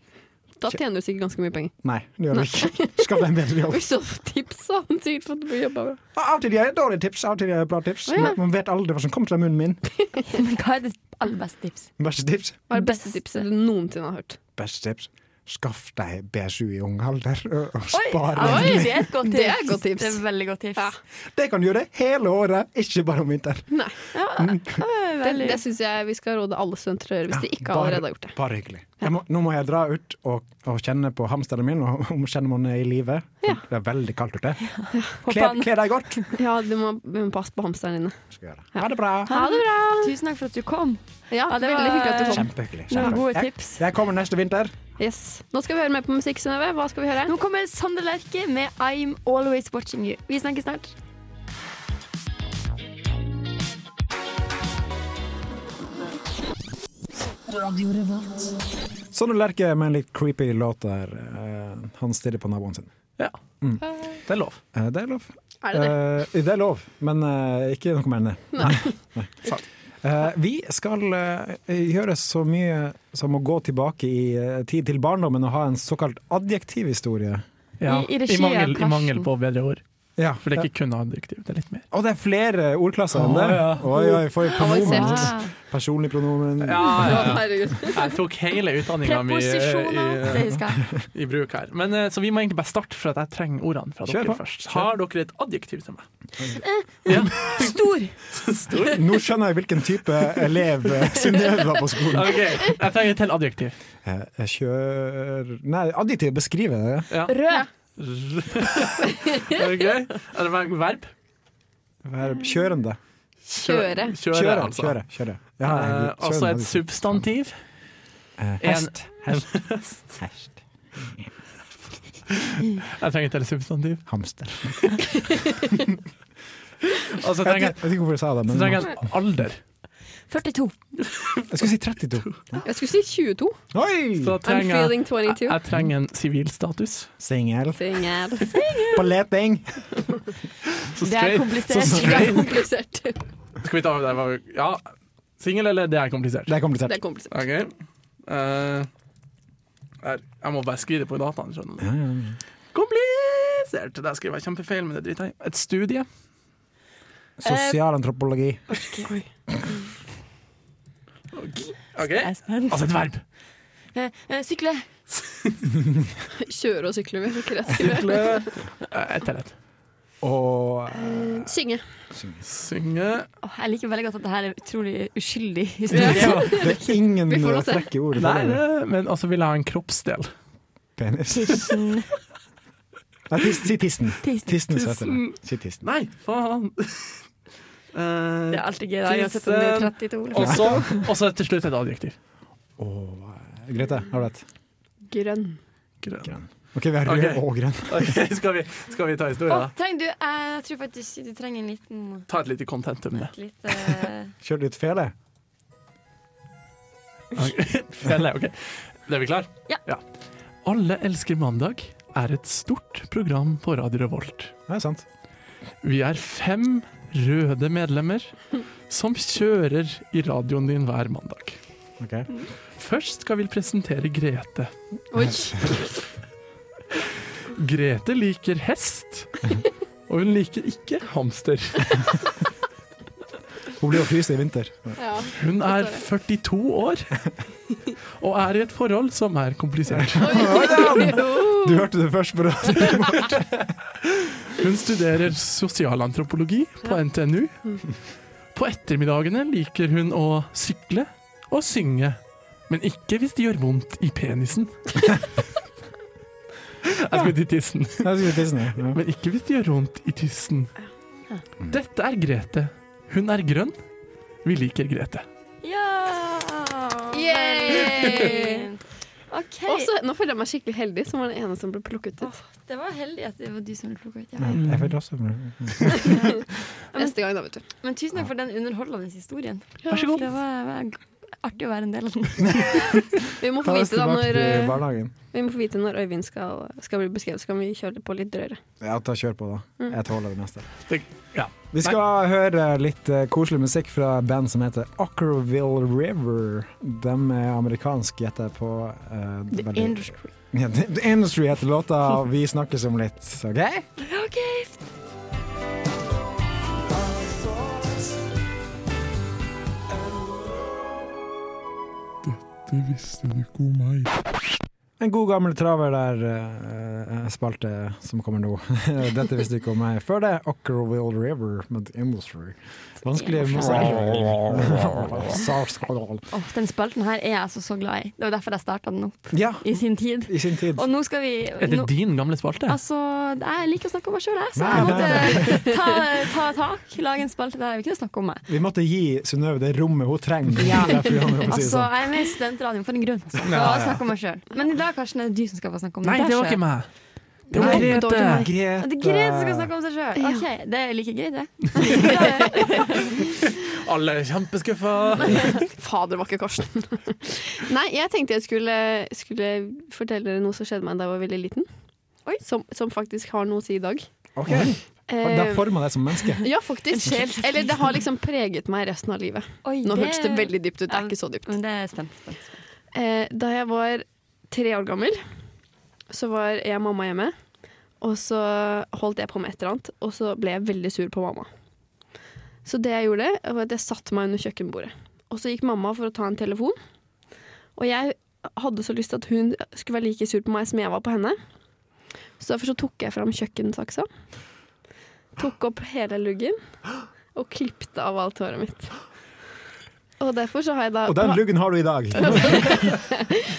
Speaker 5: Da tjener du sikkert ganske mye penger.
Speaker 2: Nei, det gjør du ikke. Skaff deg en bedre jobb.
Speaker 5: Og så tips har han sikkert fått på jobba.
Speaker 2: Av og til gir jeg dårlige tips, av og til gir jeg bra tips.
Speaker 5: Å, ja.
Speaker 2: Men man vet aldri hva som kommer fra munnen min.
Speaker 4: men hva er det aller beste tips?
Speaker 2: Beste tips?
Speaker 5: Hva er det beste tipset du noensinne har hørt?
Speaker 2: Beste tips. Skaff deg BSU i ung alder og- og spar.
Speaker 4: ja,
Speaker 2: den.
Speaker 4: det er et godt tips.
Speaker 5: Det er et godt tips.
Speaker 4: Det er et veldig godt tips.
Speaker 5: Ja.
Speaker 2: Det kan du gjøre hele året, ikke bare om vinteren.
Speaker 5: Nei, Det,
Speaker 4: Veldig-
Speaker 5: det syns jeg vi skal råde alle studenter til å gjøre, hvis de ikke allerede har gjort det.
Speaker 2: Bare hyggelig. Jeg må, nå må jeg dra ut og, og kjenne på hamsteren min, og om kjenner man er i live.
Speaker 5: Ja.
Speaker 2: Det er veldig kaldt ute.
Speaker 4: Håper
Speaker 2: Kle,
Speaker 4: han-
Speaker 2: kle deg godt.
Speaker 5: Ja, du må, vi må passe på hamsterne dine.
Speaker 2: Skal gjøre det. Ha det bra.
Speaker 5: Ha det bra!
Speaker 4: Tusen takk for at du kom.
Speaker 5: Ja,
Speaker 4: Ja, det
Speaker 5: Veldig
Speaker 4: var-
Speaker 5: hyggelig at du kom.
Speaker 2: Kjempehyggelig.
Speaker 4: Noen
Speaker 2: kjempehyggelig.
Speaker 4: gode
Speaker 2: Jeg-
Speaker 4: tips.
Speaker 2: Jeg kommer neste vinter.
Speaker 5: Yes. Nå skal vi høre mer på musikk, Synnøve. Hva skal vi høre?
Speaker 4: Nå kommer Sander Lerche med I'm Always Watching You. Vi snakkes snart.
Speaker 2: Sånn du lerker med en litt creepy låt der eh, han stirrer på naboen sin.
Speaker 3: Ja. Mm. Det er lov.
Speaker 2: Eh, det er lov.
Speaker 5: Er det det?
Speaker 2: Eh, det er lov, men eh, ikke noe mer enn det. Nei. Så, eh, vi skal eh, gjøre så mye som å gå tilbake i eh, tid til barndommen og ha en såkalt adjektivhistorie.
Speaker 3: Ja.
Speaker 4: I- i regi av
Speaker 3: mangel, I
Speaker 4: Karsten.
Speaker 3: mangel på bedre ord.
Speaker 2: Ja,
Speaker 3: For det er ikke kun adjektiv, det er litt mer.
Speaker 2: Og det er flere ordklasser enn
Speaker 3: Å,
Speaker 2: det.
Speaker 3: ja.
Speaker 2: Oi, oi, for pronomen.
Speaker 4: Wow.
Speaker 2: Personlig pronomen.
Speaker 5: herregud.
Speaker 3: Jeg tok hele utdanninga mi
Speaker 4: Preposisjoner. Det husker jeg.
Speaker 3: eh, i bruk her. Men, eh, så vi må egentlig bare starte, for at jeg trenger ordene fra
Speaker 2: Kjør
Speaker 3: dere
Speaker 2: på.
Speaker 3: først.
Speaker 2: Kjør.
Speaker 3: Har dere et adjektiv til meg?
Speaker 4: Stor.
Speaker 3: Stor.
Speaker 2: Nå skjønner jeg hvilken type elev eh, Synnøve var på skolen.
Speaker 3: OK, jeg trenger et til adjektiv.
Speaker 2: Eh, jeg Kjør Nei, adjektiv beskriver det.
Speaker 3: Ja.
Speaker 4: Rød.
Speaker 3: OK, er det ver- verb?
Speaker 2: Verb kjørende.
Speaker 5: Kjøre.
Speaker 3: Kjøre,
Speaker 2: Kjøre,
Speaker 3: altså.
Speaker 2: kjøre. kjøre. Ja, jeg-
Speaker 3: Eh, altså
Speaker 2: kjørende
Speaker 3: et
Speaker 2: adjektiv.
Speaker 3: substantiv.
Speaker 2: Eh,
Speaker 3: En-
Speaker 2: Hest. Hest. Hest.
Speaker 3: Jeg trenger et til substantiv.
Speaker 2: Hamster.
Speaker 3: Og så
Speaker 2: Jeg vet
Speaker 3: trenger Altså,
Speaker 2: ikke-
Speaker 3: jeg,
Speaker 2: jeg vet ikke hvorfor jeg sa det,
Speaker 3: så
Speaker 2: men
Speaker 3: trenger jeg en alder.
Speaker 4: 42.
Speaker 2: jeg skulle si 32.
Speaker 5: Jeg skulle si 22.
Speaker 3: Så
Speaker 2: Oi!
Speaker 5: I'm
Speaker 3: trenger jeg,
Speaker 5: feeling 22.
Speaker 3: jeg trenger en sivilstatus.
Speaker 2: Singel.
Speaker 5: Singel.
Speaker 2: På leting.
Speaker 3: Så
Speaker 4: Det er
Speaker 3: straight.
Speaker 4: komplisert.
Speaker 5: Det er komplisert. Det
Speaker 3: Skal vi ta det der? Ja. Singel eller det er komplisert?
Speaker 2: Det er komplisert.
Speaker 5: er komplisert.
Speaker 3: OK. Eh, her. jeg må bare skrive det på dataen. skjønner du.
Speaker 2: Ja, ja, ja.
Speaker 3: Komplisert! Der skriver jeg kjempefeil, men det driter jeg i. Et studie.
Speaker 2: Sosialantropologi.
Speaker 3: OK.
Speaker 4: Jeg er spent.
Speaker 3: Altså et verb.
Speaker 4: Eh, eh, Sykle.
Speaker 5: Kjøre og sykle. vi fikk rett skrive.
Speaker 3: Sykle. Eh, Et til et.
Speaker 2: Og eh,
Speaker 5: Synge.
Speaker 3: Synge.
Speaker 4: Åh, jeg liker veldig godt at det her er utrolig uskyldig historie.
Speaker 2: ja, Det er ingen
Speaker 5: Vi får lov til.
Speaker 2: frekke ord.
Speaker 3: Nei,
Speaker 2: for det.
Speaker 3: det- men altså vil jeg ha en kroppsdel.
Speaker 2: Penis.
Speaker 4: Tissen.
Speaker 2: Nei, tis, si tissen.
Speaker 4: Tissen.
Speaker 2: Tissen er søtere. Si tissen.
Speaker 3: Nei, faen!
Speaker 6: Eh,
Speaker 4: Det er alltid gøy, da. Uansett om det er 32
Speaker 3: Og
Speaker 4: eller
Speaker 3: så og så til slutt et adjektiv.
Speaker 2: Åh, hva er- Grete, har du et?
Speaker 5: Grønn.
Speaker 3: Grønn.
Speaker 2: Grønn. OK, vi har
Speaker 3: Ok.
Speaker 2: rød og grønn.
Speaker 3: Ok, skal, vi, skal vi ta historie,
Speaker 4: Å,
Speaker 3: da?
Speaker 4: trenger du eh, Jeg tror faktisk du trenger en liten
Speaker 3: Ta et lite contentum. med.
Speaker 4: litt, eh,
Speaker 2: Kjør litt fele.
Speaker 3: Fjellet, ok. Er vi klare?
Speaker 4: Ja.
Speaker 3: Alle elsker mandag er et stort program på Radio Revolt.
Speaker 2: Det er sant.
Speaker 3: Vi er fem røde medlemmer som kjører i radioen din hver mandag.
Speaker 2: Ok.
Speaker 5: Mm.
Speaker 3: Først skal vi presentere Grete.
Speaker 5: Oi!
Speaker 3: Grete liker hest, og hun liker ikke hamster.
Speaker 2: Hun blir jo fryst i vinter.
Speaker 5: Ja.
Speaker 3: Hun er 42 år og er i et forhold som er komplisert.
Speaker 2: Du hørte det først på radio.
Speaker 3: Hun studerer sosialantropologi på NTNU. På ettermiddagene liker hun å sykle og synge, men ikke hvis det gjør vondt i penisen. Jeg skulle til tissen.
Speaker 2: Jeg skulle tisse ned.
Speaker 5: Mm.
Speaker 2: Ja.
Speaker 3: Men ikke hvis det gjør vondt i tissen. Dette er Grete. Hun er grønn. Vi liker Grete.
Speaker 4: Ja!
Speaker 5: Yay!
Speaker 4: veldig fint. OK.
Speaker 5: Også, nå føler jeg meg skikkelig heldig, som var den ene som ble plukket ut.
Speaker 4: det var heldig at det var du som ville plukke ut. Ja.
Speaker 2: Jeg vet også.
Speaker 5: Neste gang, da, vet du.
Speaker 4: Men tusen takk for den underholdende historien.
Speaker 3: Vær så god.
Speaker 4: Det var, var artig å være en del av den.
Speaker 5: Vi må
Speaker 2: Ta
Speaker 5: få
Speaker 2: oss
Speaker 5: vite, da,
Speaker 2: tilbake
Speaker 5: når,
Speaker 2: til
Speaker 5: eh,
Speaker 2: barnehagen.
Speaker 5: vi må få vite når Øyvind skal, skal bli beskrevet, så kan vi kjøre det på litt drøyere.
Speaker 2: Ja, ta kjør på, da. Jeg tåler det meste.
Speaker 3: Det- ja.
Speaker 2: Vi skal høre litt eh, koselig musikk fra et band som heter Ockerville River. De er amerikansk, gjetter jeg på. eh, det er veldig- Ja, The The Industry heter låta, og vi snakkes om litt, OK?
Speaker 7: Det visste du ikke om meg.
Speaker 2: En god gammel traver der, eh, spalte som kommer nå. Dette visste du ikke om meg. Før det, Ockerville River med The Industry. Vanskelig musikk.
Speaker 4: Åh, den spalten her er jeg altså så glad i. Det var derfor jeg starta den opp
Speaker 2: Ja,
Speaker 4: i sin tid.
Speaker 2: i sin tid.
Speaker 4: Og nå skal vi
Speaker 3: Er det
Speaker 4: nå,
Speaker 3: din gamle spalte?
Speaker 4: Altså, jeg liker å snakke om meg sjøl, jeg, så
Speaker 2: Nei,
Speaker 4: jeg måtte ta, ta tak. Lage en spalte der jeg kunne snakke om meg.
Speaker 2: Vi måtte gi Synnøve det rommet hun trenger.
Speaker 4: Ja.
Speaker 2: Derfor gjør vi det, for å si det
Speaker 4: Altså,
Speaker 2: sånn.
Speaker 4: Jeg er med i Studentradioen for en grunn. Så
Speaker 2: Ja, ja.
Speaker 4: snakke om meg selv. Men i dag Karsten, er det du som skal få snakke om
Speaker 3: Nei,
Speaker 4: deg
Speaker 3: det var
Speaker 4: selv.
Speaker 3: ikke meg. Det var
Speaker 5: Nei, det var
Speaker 3: Grete.
Speaker 5: ikke meg.
Speaker 2: Grete.
Speaker 4: Det er Grete som
Speaker 5: eh,
Speaker 4: skal snakke om seg sjøl. Ok, Det er like gøy, det.
Speaker 3: Alle er kjempeskuffa.
Speaker 5: Fader, var ikke Karsten. Nei, jeg tenkte jeg skulle, skulle fortelle dere noe som skjedde meg da jeg var veldig liten. Som, som faktisk har noe å si i dag.
Speaker 2: Ok,
Speaker 5: Eh,
Speaker 2: Da forma deg som menneske.
Speaker 5: ja, faktisk. Eller det har liksom preget meg resten av livet.
Speaker 4: Oi,
Speaker 5: Nå hørtes det veldig dypt ut. Det er ikke så dypt.
Speaker 4: Men det er spent. spent, spent.
Speaker 5: Eh, da jeg var tre år gammel, så var jeg og mamma hjemme. Og så holdt jeg på med et eller annet, og så ble jeg veldig sur på mamma. Så det jeg gjorde, var at jeg satte meg under kjøkkenbordet. Og så gikk mamma for å ta en telefon. Og jeg hadde så lyst til at hun skulle være like sur på meg som jeg var på henne. Så derfor så tok jeg fram kjøkkensaksa. Tok opp hele luggen og klippte av alt håret mitt. Og derfor så har jeg da
Speaker 2: Og den luggen har du i dag. Nei.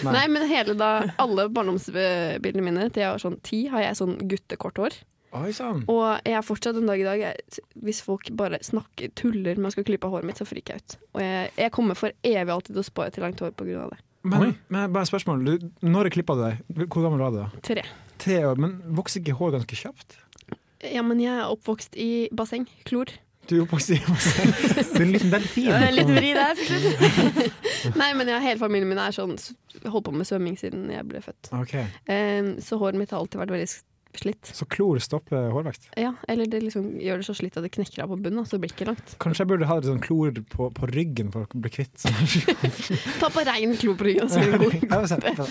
Speaker 5: Nei. men hele da Alle barndomsbildene mine til jeg var sånn ti, har jeg sånn guttekort hår.
Speaker 2: Oi sann.
Speaker 5: Og jeg er fortsatt en dag i dag jeg, Hvis folk bare snakker, tuller med å skulle klippe av håret mitt, så friker jeg ut. Og jeg, jeg kommer for evig alltid til å spå til langt hår på grunn av det.
Speaker 2: Men,
Speaker 3: Oi.
Speaker 2: men bare et spørsmål. Du, når klippa du deg? Hvor gammel var du da?
Speaker 5: Tre.
Speaker 2: Tre år. Men vokser ikke hår ganske kjapt?
Speaker 5: Ja, men jeg er oppvokst i basseng. Klor.
Speaker 2: Du er oppvokst i Du er liksom. en liten delfin.
Speaker 4: Det sånn. er litt vri der. for slutt.
Speaker 5: Nei, men jeg, hele familien min er sånn s- holdt på med svømming siden jeg ble født.
Speaker 2: Ok,
Speaker 5: Em, så håret mitt har alltid vært veldig s- slitt.
Speaker 2: Så klor stopper hårvekst.
Speaker 5: Ja, eller det liksom gjør det så slitt at det knekker av på bunnen, så det blir ikke langt.
Speaker 2: Kanskje jeg burde ha litt sånn klor på, på ryggen for å bli kvitt sånn.
Speaker 5: Ta på rein klo på ryggen, så blir det god.
Speaker 2: Jeg har sett det.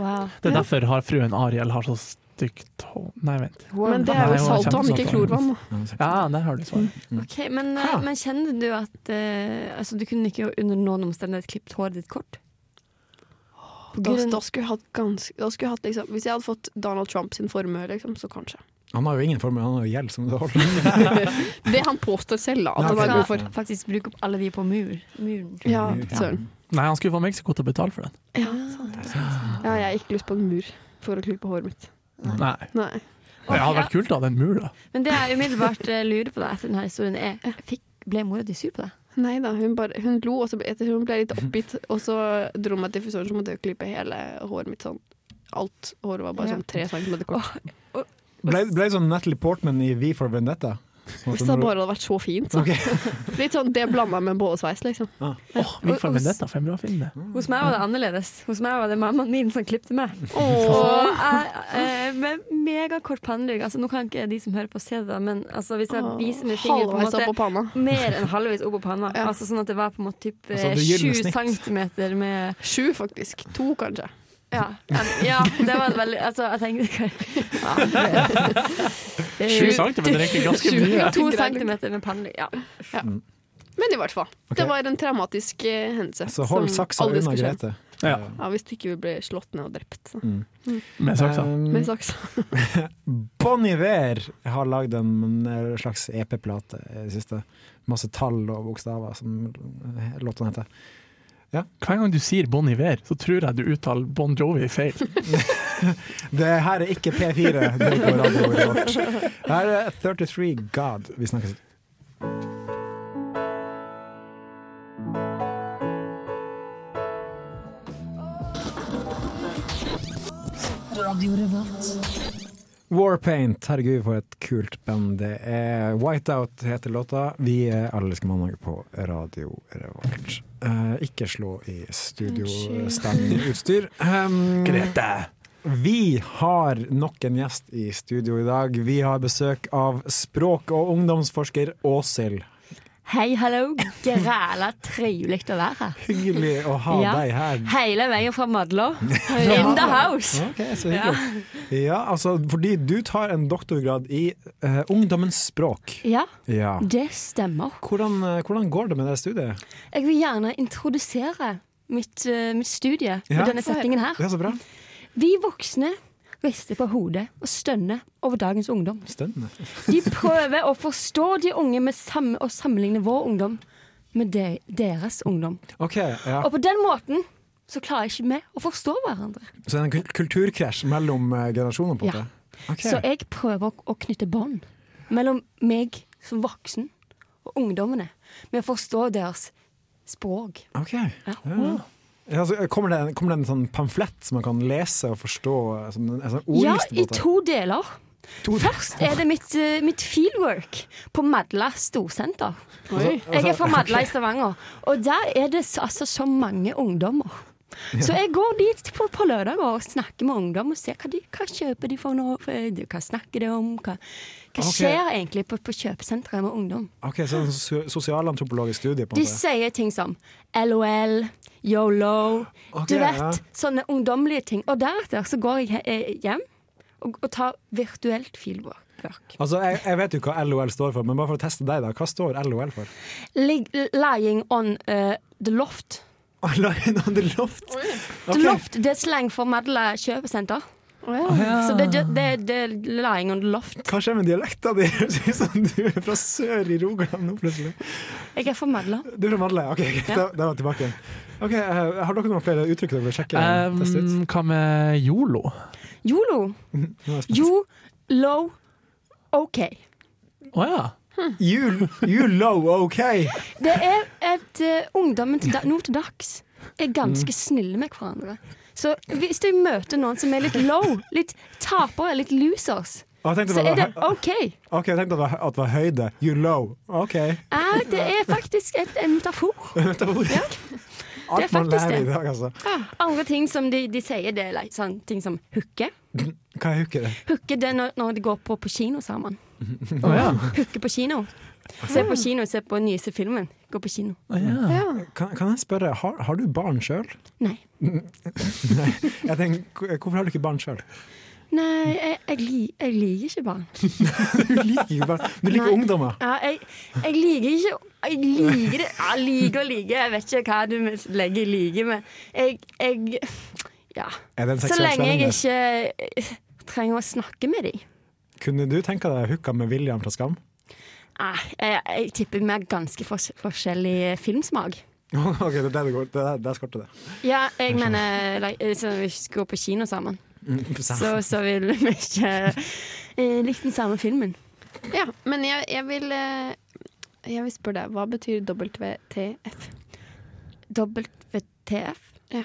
Speaker 4: Wow.
Speaker 3: Det er derfor har fruen Ariel har så stygt hår. Nei, vent.
Speaker 5: Men det er
Speaker 3: Nei,
Speaker 5: jo
Speaker 3: det var
Speaker 5: saltvann, ikke
Speaker 3: kjempesaltvann.
Speaker 5: klorvann.
Speaker 3: Ja, der har du svaret.
Speaker 4: Ok, men, eh,
Speaker 2: Ha.
Speaker 4: men kjenner du at eh, altså, Du kunne ikke under noen omstendighet klippet håret ditt kort? På
Speaker 5: Da,
Speaker 4: grunn-
Speaker 5: da skulle jeg hatt ganske da skulle jeg hatt, liksom, Hvis jeg hadde fått Donald Trump sin formue, liksom, så kanskje.
Speaker 2: Han har jo ingen formue, han har jo gjeld som det holder.
Speaker 5: Det han påstår selv, da. At
Speaker 2: Nei,
Speaker 5: han er
Speaker 4: skal
Speaker 5: god for.
Speaker 4: faktisk bruke opp alle de på mur, muren.
Speaker 5: Ja, søren.
Speaker 3: Nei, han skulle få Mexico til å betale for den.
Speaker 5: Ja, ja, jeg har ikke lyst på en mur for å klippe håret mitt.
Speaker 3: Nei.
Speaker 5: Nei.
Speaker 3: Det hadde vært kult å ha den mur, da.
Speaker 4: Men det jeg umiddelbart eh, lurer på da, etter denne historien, er fikk, Ble mora di sur på deg?
Speaker 5: Nei da, hun, bare, hun lo, og så ble, etter hun ble litt oppgitt. Og så dro hun meg til frisøren, så måtte jeg klippe hele håret mitt sånn. Alt håret var bare
Speaker 4: Ja.
Speaker 5: sånn tre centimeter kort.
Speaker 2: Ble, ble sånn Natalie Portman i V for Vendetta? Sånn at
Speaker 5: Hvis det
Speaker 2: når du-
Speaker 5: bare hadde vært så fint. Så.
Speaker 2: Ok.
Speaker 5: Litt sånn det blanda med bålesveis, liksom.
Speaker 3: Åh, vi får med dette, for en bra film, det.
Speaker 6: Hos meg var det annerledes. Hos meg var det mammaen min som klipte meg.
Speaker 5: Åh.
Speaker 6: Og jeg, eh, med megakort pannelugg. Altså, nå kan ikke de som hører på se det, men altså, hvis jeg viser med fingeren på en
Speaker 5: Halvveis
Speaker 6: måte
Speaker 5: opp på panna.
Speaker 6: mer enn halvveis opp på panna.
Speaker 5: Ja.
Speaker 6: Altså Sånn at det var på en måte typ
Speaker 2: Altså,
Speaker 6: eh,
Speaker 2: det gylne
Speaker 6: sju
Speaker 2: snitt.
Speaker 6: centimeter med
Speaker 5: Sju, faktisk. To, kanskje.
Speaker 6: Ja, ja det var et veldig Altså, jeg tenkte ja.
Speaker 3: Sju centimeter er egentlig ganske
Speaker 5: Sju.
Speaker 3: mye.
Speaker 6: To centimeter med pannelugg. Ja.
Speaker 5: Men i hvert fall.
Speaker 2: Ok.
Speaker 5: Det var en traumatisk eh, hendelse.
Speaker 2: Så hold
Speaker 5: som
Speaker 2: saksa
Speaker 5: aldri
Speaker 2: unna
Speaker 5: skal skje.
Speaker 2: Grete. Eh, mm.
Speaker 3: Ja.
Speaker 5: Ja, Hvis du ikke vil bli slått ned og drept. Så.
Speaker 3: Med saksa.
Speaker 2: Um,
Speaker 5: Med saksa.
Speaker 2: Bon Iver har lagd en slags EP-plate i det siste. Masse tall og bokstaver, som låten heter.
Speaker 3: Hver gang du sier Bon Iver, så tror jeg du uttaler Bon Jovi feil.
Speaker 2: Det her er ikke P4. Det er på radioen vårt. Her er 33 God. Vi snakkes. Warpaint, herregud for et kult band det er. Whiteout heter låta. Vi er Allerske mandag på Radio Revolt. Eh, ikke slå i studiostandutstyr. Um,
Speaker 3: Grete!
Speaker 2: vi har nok en gjest i studio i dag. Vi har besøk av språk- og ungdomsforsker Åshild.
Speaker 4: Hei, hallo, græla trivelig å være her.
Speaker 2: Hyggelig å ha
Speaker 4: Ja.
Speaker 2: deg her.
Speaker 4: Hele veien fra Madla. In the house.
Speaker 2: Ok, så hyggelig. Ja. altså, fordi du tar en doktorgrad i eh, ungdommens språk.
Speaker 4: Ja,
Speaker 2: Ja.
Speaker 4: det stemmer.
Speaker 2: Hvordan, eh, hvordan går det med det studiet?
Speaker 4: Jeg vil gjerne introdusere mitt, eh, mitt studie
Speaker 2: Ja.
Speaker 4: med denne setningen her.
Speaker 2: Ja, så bra.
Speaker 4: Vi voksne rister på hodet og stønner over dagens ungdom.
Speaker 2: Stønnende.
Speaker 4: De prøver å forstå de unge med sam og sammenligne vår ungdom med de deres ungdom.
Speaker 2: Ok, ja.
Speaker 4: Og på den måten så klarer ikke vi å forstå hverandre.
Speaker 2: Så det er en kul- kulturkrasj mellom eh, generasjoner, på en
Speaker 4: Ja.
Speaker 2: måte? Ok.
Speaker 4: Så jeg prøver å- å knytte bånd mellom meg som voksen og ungdommene med å forstå deres språk.
Speaker 2: Ok. Ja. Ja, så eh, kommer, det en, kommer det en sånn pamflett som man kan lese og forstå? eh, Som en, en sånn
Speaker 4: Ja,
Speaker 2: ordliste? på en
Speaker 4: i
Speaker 2: måte?
Speaker 4: to deler.
Speaker 2: To-
Speaker 4: Først er det mitt, eh, mitt fieldwork på Madla storsenter.
Speaker 5: Oi.
Speaker 4: Jeg
Speaker 2: Altså,
Speaker 4: er fra Madla i Stavanger, og der er det s- altså så mange ungdommer. Så jeg går dit på, på lørdager og snakker med ungdom og ser hva, de, hva kjøper de for noe, for, eh, hva snakker de om, hva, hva
Speaker 2: Ok.
Speaker 4: skjer egentlig på, på kjøpesenteret med ungdom.
Speaker 2: Ok, så en so- sosialantropologisk studie på en
Speaker 4: De
Speaker 2: måte.
Speaker 4: sier ting som LOL, YOLO,
Speaker 2: Ok,
Speaker 4: du vet.
Speaker 2: ja.
Speaker 4: Sånne ungdommelige ting. Og deretter så går jeg he- eh, hjem og, og tar virtuelt fieldwork.
Speaker 2: Altså, jeg, jeg vet jo hva LOL står for, men bare for å teste deg, da. Hva står LOL for?
Speaker 4: Lig, lying on eh, the loft.
Speaker 2: Line on the loft.
Speaker 4: The loft det er slang for Madla kjøpesenter. Så det, det, det, det er lying on the loft.
Speaker 2: Hva skjer med dialekta di? Det ser ut som Du er fra sør i Rogaland nå, plutselig.
Speaker 4: Jeg er fra Madla.
Speaker 2: Du er fra Madla. Ok, ok, da, da var jeg tilbake igjen. Ok, eh, Har dere noen flere uttrykk dere vil sjekke?
Speaker 3: Um,
Speaker 2: teste ut?
Speaker 3: hva med Yolo?
Speaker 4: Yolo.
Speaker 2: Nå er jeg spent.
Speaker 4: You low OK.
Speaker 3: Å ja.
Speaker 2: You, you low, OK!
Speaker 4: Det er at eh, ungdommen til da, nå til dags er ganske snille med hverandre. Så hvis de møter noen som er litt low, litt tapere, litt losers,
Speaker 2: Og jeg tenkte
Speaker 4: så
Speaker 2: bare,
Speaker 4: er det OK.
Speaker 2: ok, jeg tenkte at det var- at det var høyde. You low. OK.
Speaker 4: Eh, det er faktisk et, en metafor.
Speaker 2: Alt man
Speaker 4: faktisk
Speaker 2: lærer i
Speaker 4: det.
Speaker 2: dag, altså.
Speaker 4: Andre ting som de, de sier, det er like, sånn, ting som hooke.
Speaker 2: Hva er hooker?
Speaker 4: Hooke det er når, når de går på, på kino sammen.
Speaker 3: Å ja.
Speaker 4: Hooke på kino. Se på kino, se på den nyeste filmen. Gå på kino.
Speaker 3: Å ja.
Speaker 2: Kan, kan jeg spørre, har, har du barn sjøl?
Speaker 4: Nei.
Speaker 2: Jeg tenker, Hvorfor har du ikke barn sjøl?
Speaker 4: Nei, jeg, jeg, li, jeg liker ikke barn.
Speaker 2: Du liker jo barn. Du liker
Speaker 4: Nei.
Speaker 2: ungdommer.
Speaker 4: Ja, jeg, jeg liker ikke Jeg liker det ja, Liker og liker, jeg vet ikke hva du legger i like, men jeg, jeg Ja.
Speaker 2: Er det en
Speaker 4: Så
Speaker 2: seksuell
Speaker 4: lenge jeg
Speaker 2: spenning
Speaker 4: ikke eh, trenger å snakke med dem.
Speaker 2: der? Kunne du tenke deg hooka med William fra Skam?
Speaker 4: Jeg, jeg tipper vi har ganske fors forskjellig filmsmak.
Speaker 2: ok, det er der det går. Det er der skorter det.
Speaker 4: Ja, jeg mener like, eh, Så vi skal gå på kino sammen,
Speaker 2: Mm,
Speaker 4: så, så vil vi ikke eh, like den samme filmen.
Speaker 5: Ja, men jeg, jeg vil eh, Jeg vil spørre deg, hva betyr WTF?
Speaker 4: WTF?
Speaker 5: Ja.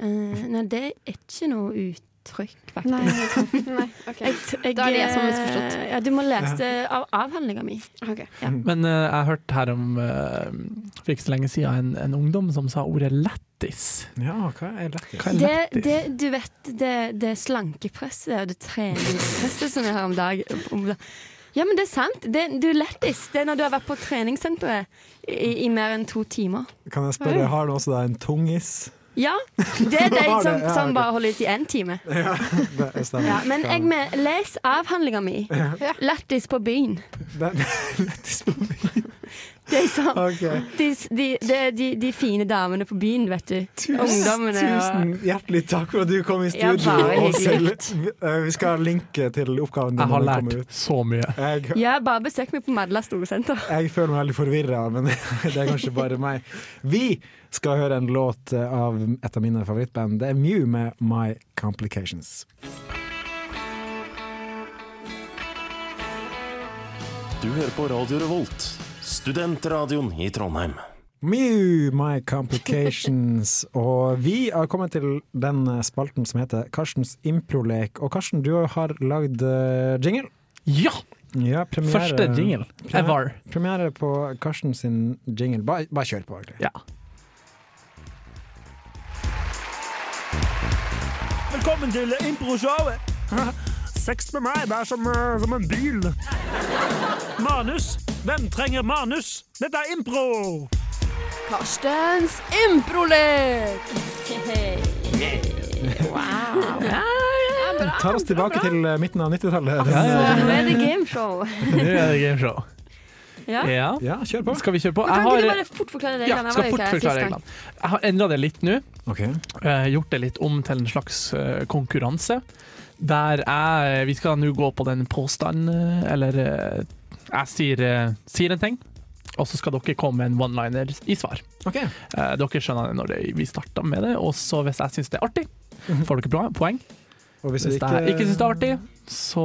Speaker 4: Eh, nei, det er ikke noe uttrykk, faktisk.
Speaker 5: Nei, nei, ok. Da er det jeg som har misforstått.
Speaker 4: eh, Ja, du må lese av avhandlinga mi.
Speaker 5: Ok.
Speaker 3: Men eh, jeg har hørt her om, eh, for ikke så lenge siden, en, en ungdom som sa ordet lættis.
Speaker 2: Ja, hva er lættis?
Speaker 3: Hva er
Speaker 4: Det,
Speaker 3: lættis?
Speaker 4: det, du vet det, det slankepresset og det treningspresset som jeg har om dag. Om da- Ja, men det er sant. Det, du er lættis. Det er når du har vært på treningssenteret i, i mer enn to timer.
Speaker 2: Kan jeg spørre,
Speaker 4: Mm.
Speaker 2: har du også da en tungis?
Speaker 4: Ja, det er de
Speaker 2: Har det,
Speaker 4: som,
Speaker 2: ja,
Speaker 4: som
Speaker 2: ok.
Speaker 4: bare holder ut i én time.
Speaker 2: Det stemmer.
Speaker 4: Ja, men jeg med, les avhandlinga mi. Lættis på byen.
Speaker 2: Den- Lættis på byen.
Speaker 4: Det er sånn.
Speaker 2: Ok.
Speaker 4: De, de, de, de, de fine damene på byen, vet du.
Speaker 2: Tusen,
Speaker 4: Ungdommene og
Speaker 2: tusen hjertelig takk for at du kom i
Speaker 4: Ja,
Speaker 2: studio.
Speaker 4: bare
Speaker 2: og
Speaker 4: hyggelig.
Speaker 2: selv- Eh, vi skal linke til oppgaven din.
Speaker 3: Jeg har
Speaker 2: når den kommer
Speaker 3: lært så mye.
Speaker 2: ut. Jeg,
Speaker 4: Ja, bare besøk meg på Madla Storsenter.
Speaker 2: jeg føler meg veldig forvirra, men det er kanskje bare meg. Vi skal høre en låt av et av mine favorittband. Det er Mew med 'My Complications'.
Speaker 8: Du hører på Radio Revolt, studentradioen i Trondheim.
Speaker 2: Mew, my complications. Og vi har kommet til den spalten som heter Karstens improlek. Og Karsten, du har lagd eh, jingle.
Speaker 3: Ja!
Speaker 2: Ja, premiere,
Speaker 3: Første jingle ever.
Speaker 2: Premiere på Karsten sin jingle. Bare, bare kjør på, egentlig.
Speaker 3: Ja.
Speaker 9: Velkommen til improshowet. Sex med meg, det er som, eh, som en bil. Manus. Hvem trenger manus? Dette er impro.
Speaker 5: Karstens improlek!
Speaker 2: Tar oss tilbake til eh, midten av 90-tallet.
Speaker 3: Ja, ja,
Speaker 4: Nå er det gameshow.
Speaker 3: Nå er det gameshow.
Speaker 4: Ja.
Speaker 3: Ja.
Speaker 2: Ja, kjør på.
Speaker 3: Skal vi kjøre på?
Speaker 4: Kan
Speaker 3: Jeg
Speaker 4: ikke du
Speaker 3: har,
Speaker 4: bare fort forklare
Speaker 3: ja,
Speaker 4: reglene? Jeg var
Speaker 3: skal
Speaker 4: jo
Speaker 3: fort
Speaker 4: ikke her
Speaker 3: forklare
Speaker 4: sist gang.
Speaker 3: reglene. Jeg har endra det litt nå.
Speaker 2: Ok.
Speaker 3: eh, gjort det litt om til en slags eh, konkurranse. Der jeg Vi skal nå gå på den påstanden, eh, eller eh, Jeg sier, eh, sier en ting, og så skal dere komme med en one-liner i svar.
Speaker 2: Ok.
Speaker 3: Eh, dere skjønner det når det, vi starter med det, og så hvis jeg syns det er artig, får dere bra poeng.
Speaker 2: Og hvis,
Speaker 3: Hvis
Speaker 2: vi
Speaker 3: jeg ikke
Speaker 2: ikke,
Speaker 3: syns det er artig, så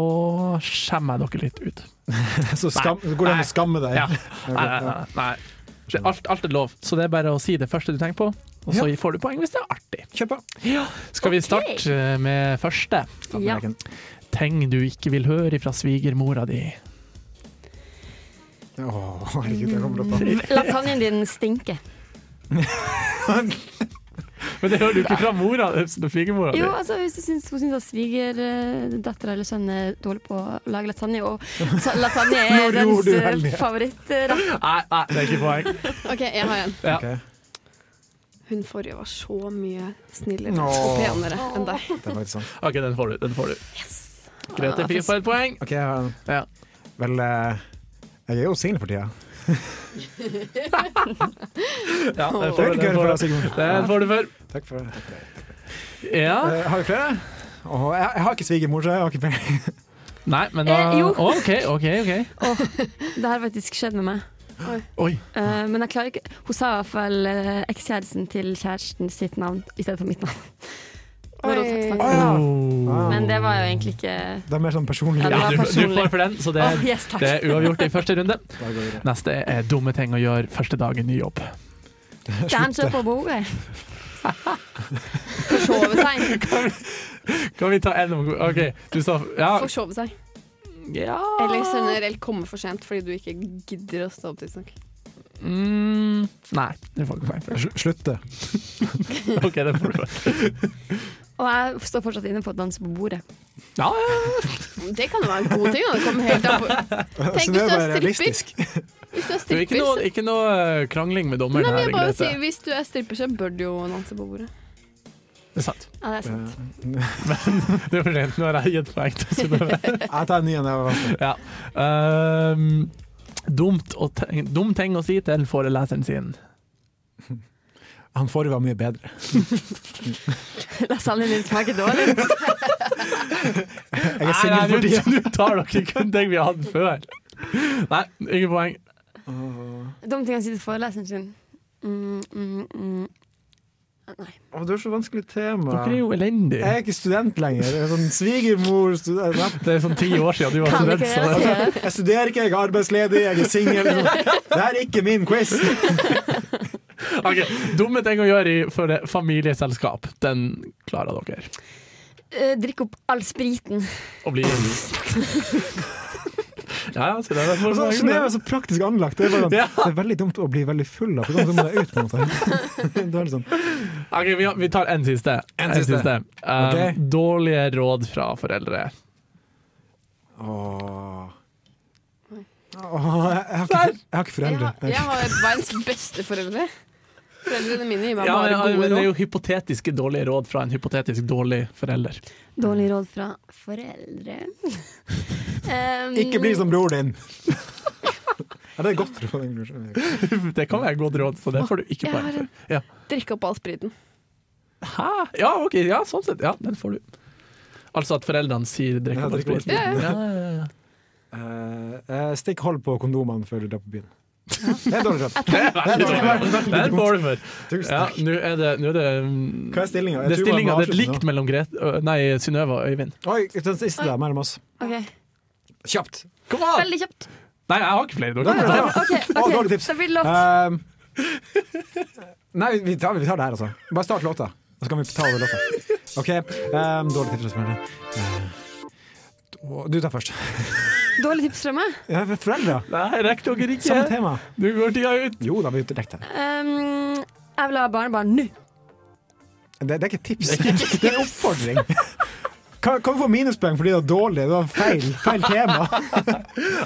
Speaker 3: skjemmer jeg dere litt ut.
Speaker 2: så skam, går det an å skamme deg.
Speaker 3: Ja. Nei, nei, nei. nei. Det, alt, alt er lov, så det er bare å si det første du tenker på, og så får du poeng hvis det er artig.
Speaker 2: Kjør på.
Speaker 3: Skal vi starte eh, med første?
Speaker 4: Ja.
Speaker 3: Ting du ikke vil høre fra svigermora di.
Speaker 2: Å, herregud, jeg kommer til å ta
Speaker 4: Lasagnen din stinker.
Speaker 3: Men det hører du ikke fra mora, svigermora
Speaker 4: Jo, altså hvis du syns, hun syns at svigerdattera eller sønnen er dårlig på å lage lasagne, og sa- lasagne
Speaker 2: Nå
Speaker 4: er
Speaker 2: gjorde
Speaker 4: dens
Speaker 2: du
Speaker 4: eh,
Speaker 2: veldig.
Speaker 4: favorittrett
Speaker 3: Nei, nei, det er ikke poeng.
Speaker 5: Ok, jeg har en.
Speaker 3: Ja.
Speaker 2: Ok.
Speaker 5: Hun forrige var så mye snillere
Speaker 2: Nå.
Speaker 5: og penere enn deg.
Speaker 2: Det er faktisk sant.
Speaker 3: OK, den får du. Den får du. Greit, Ah, jeg fikk på et poeng.
Speaker 2: Ok, jeg har en.
Speaker 3: Ja.
Speaker 2: Vel, eh, jeg er jo singel for tida.
Speaker 3: Ja, den
Speaker 2: Det
Speaker 3: får
Speaker 2: er
Speaker 3: du,
Speaker 2: ikke
Speaker 3: den
Speaker 2: for
Speaker 3: får
Speaker 2: deg,
Speaker 3: du.
Speaker 2: Sigmund.
Speaker 3: Den får du for. Ah.
Speaker 2: Takk for det.
Speaker 3: Ja.
Speaker 2: Eh, har vi flere? Åh, jeg, jeg har ikke svigermor, så jeg har ikke peiling.
Speaker 3: Nei, men da
Speaker 4: Eh, jo.
Speaker 3: Å, OK, OK. ok
Speaker 4: Det har faktisk skjedd med meg.
Speaker 3: Oi.
Speaker 4: Eh, men jeg klarer ikke Hun sa i hvert fall eh, ekskjæresten til kjæresten sitt navn i stedet for mitt navn. Når hun
Speaker 5: Oi.
Speaker 4: snakket.
Speaker 2: Å, ja.
Speaker 3: Oh.
Speaker 4: Men det var jo egentlig ikke
Speaker 2: Ah, Det er mer sånn personlig.
Speaker 4: Ja, det
Speaker 3: Ja,
Speaker 4: var
Speaker 3: du, du
Speaker 4: personlig.
Speaker 3: får for den, så det,
Speaker 4: Åh, yes, takk.
Speaker 3: det er uavgjort i første runde.
Speaker 2: Bare gå videre.
Speaker 3: Neste er dumme ting å gjøre første dag i ny jobb.
Speaker 4: Danser på bordet.
Speaker 5: Forsove seg.
Speaker 3: Kan vi ta en om OK, du sa
Speaker 2: Ah.
Speaker 3: Ja.
Speaker 5: Forsove seg.
Speaker 3: ja.
Speaker 5: Eller generelt komme for sent fordi du ikke gidder å stå opp tidsnok.
Speaker 3: Mm, nei, du får ikke poeng for det.
Speaker 2: Sl- Slutte.
Speaker 3: OK, den får du for.
Speaker 4: Og jeg står fortsatt inne på å danse på bordet.
Speaker 3: Ja, ja.
Speaker 5: Det kan jo være en god ting. Da. Det kommer helt an på. Tenk
Speaker 2: så det er
Speaker 5: hvis du
Speaker 2: bare
Speaker 5: er stripper.
Speaker 2: realistisk.
Speaker 5: Hvis du er
Speaker 3: Du, ikke,
Speaker 5: stripper,
Speaker 3: noe,
Speaker 5: så
Speaker 3: ikke noe eh, krangling med dommeren
Speaker 5: Nei, men
Speaker 3: her.
Speaker 5: jeg bare
Speaker 3: Grete.
Speaker 5: sier, Hvis du er stripper, så bør du jo danse på bordet.
Speaker 3: Det er sant.
Speaker 4: Ja, det er
Speaker 2: Eh,
Speaker 4: sant.
Speaker 3: Det er for sent. Nå har jeg gitt poeng til Synnøve.
Speaker 2: Jeg tar en ny en. jeg var vant til.
Speaker 3: Ja. Ehm, dumt å te- dum ting å si til foreleseren sin.
Speaker 2: Han forrige var mye bedre.
Speaker 4: Lasagnen din smaker dårlig.
Speaker 2: Jeg er singel for
Speaker 3: nå
Speaker 2: tida.
Speaker 3: nå tar dere kun ting vi hadde før. Nei, ingen poeng.
Speaker 4: Dumme ting han sier til foreleseren sin. Mm, mm, mm.
Speaker 2: Å, det er så vanskelig tema.
Speaker 3: Dere er jo elendige.
Speaker 2: Jeg er ikke student lenger. Jeg er sånn svigermor student.
Speaker 3: Det er sånn ti år siden du var Kan student, ikke så- relatere.
Speaker 2: Jeg studerer ikke, jeg er arbeidsledig, jeg er singel. Det er ikke min quiz.
Speaker 3: Ok, Dumme ting å gjøre i for det familieselskap. Den klarer dere.
Speaker 4: Eh, Drikk opp all spriten.
Speaker 3: Å bli Ja, ja, så det er derfor-
Speaker 2: Altså, det er jo så praktisk anlagt. Det er, bare, sånn,
Speaker 3: Ja.
Speaker 2: det er veldig dumt å bli veldig full av, for da må jeg ut på en måte. Det er litt sånn.
Speaker 3: Ok, vi, vi tar en siste.
Speaker 2: En siste.
Speaker 3: Um,
Speaker 2: Ok.
Speaker 3: Dårlige råd fra foreldre.
Speaker 2: Åh. Åh, jeg, har ikke, jeg har ikke foreldre.
Speaker 5: Jeg har verdens beste foreldre. Foreldrene mine gir meg
Speaker 3: Ja, men,
Speaker 5: bare
Speaker 3: ja, men
Speaker 5: gode
Speaker 3: Det er jo
Speaker 5: råd.
Speaker 3: hypotetiske dårlige råd fra en hypotetisk dårlig forelder.
Speaker 4: Dårlig råd fra foreldre. Em,
Speaker 2: Ikke bli som bror din. Ja, det er godt råd. egentlig.
Speaker 3: det kan være godt råd, så det får du ikke
Speaker 5: Jeg
Speaker 3: poeng
Speaker 5: har
Speaker 3: for.
Speaker 5: en
Speaker 3: Ja.
Speaker 5: drikke opp all spriten.
Speaker 3: Hæ? Ja, ok, ja, sånn sett. Ja, den får du. Altså at foreldrene sier 'drikk
Speaker 2: Ja,
Speaker 3: opp
Speaker 2: drikk opp
Speaker 3: spriten'.
Speaker 5: spriten. Ja, ja.
Speaker 2: Eh, eh, stikk hold på kondomene før du drar på byen. Det er dårlig råd.
Speaker 3: Det er veldig dårlig. Det er en bowl for.
Speaker 2: Tusen
Speaker 3: Ja,
Speaker 2: takk.
Speaker 3: nå er det, nå er det mm,
Speaker 2: Hva er stillinga?
Speaker 3: Det er stillinga. Det er likt mellom Gret ø, Nei, Synnøve og Øyvind.
Speaker 2: Oi, den siste der, mellom oss.
Speaker 4: ok.
Speaker 2: Kjapt.
Speaker 3: Kom an!
Speaker 4: Veldig kjapt.
Speaker 3: Nei, jeg har ikke flere.
Speaker 2: Dårlig
Speaker 3: Dere.
Speaker 2: tips.
Speaker 4: Ok,
Speaker 2: Å,
Speaker 4: ok,
Speaker 2: dårlig tips.
Speaker 4: Da blir det lov.
Speaker 2: Ehm, nei, vi tar, vi tar det her, altså. Bare start låta, så kan vi ta over låta. OK. ehm, dårlig tips. Rasmus. Ehm, da- Du tar først.
Speaker 4: Dårlig tips fra meg.
Speaker 2: Ja, for Foreldre.
Speaker 3: Nei, rekk dere
Speaker 2: Samme
Speaker 3: ikke.
Speaker 2: tema.
Speaker 3: Nå går tida ut.
Speaker 2: Jo da, vi direkte.
Speaker 4: Em, Ehm, jeg vil ha barnebarn nå.
Speaker 2: Det, det er ikke et tips, det er en oppfordring. Kan, kan vi få minuspoeng fordi det var dårlig? Det var feil, feil tema.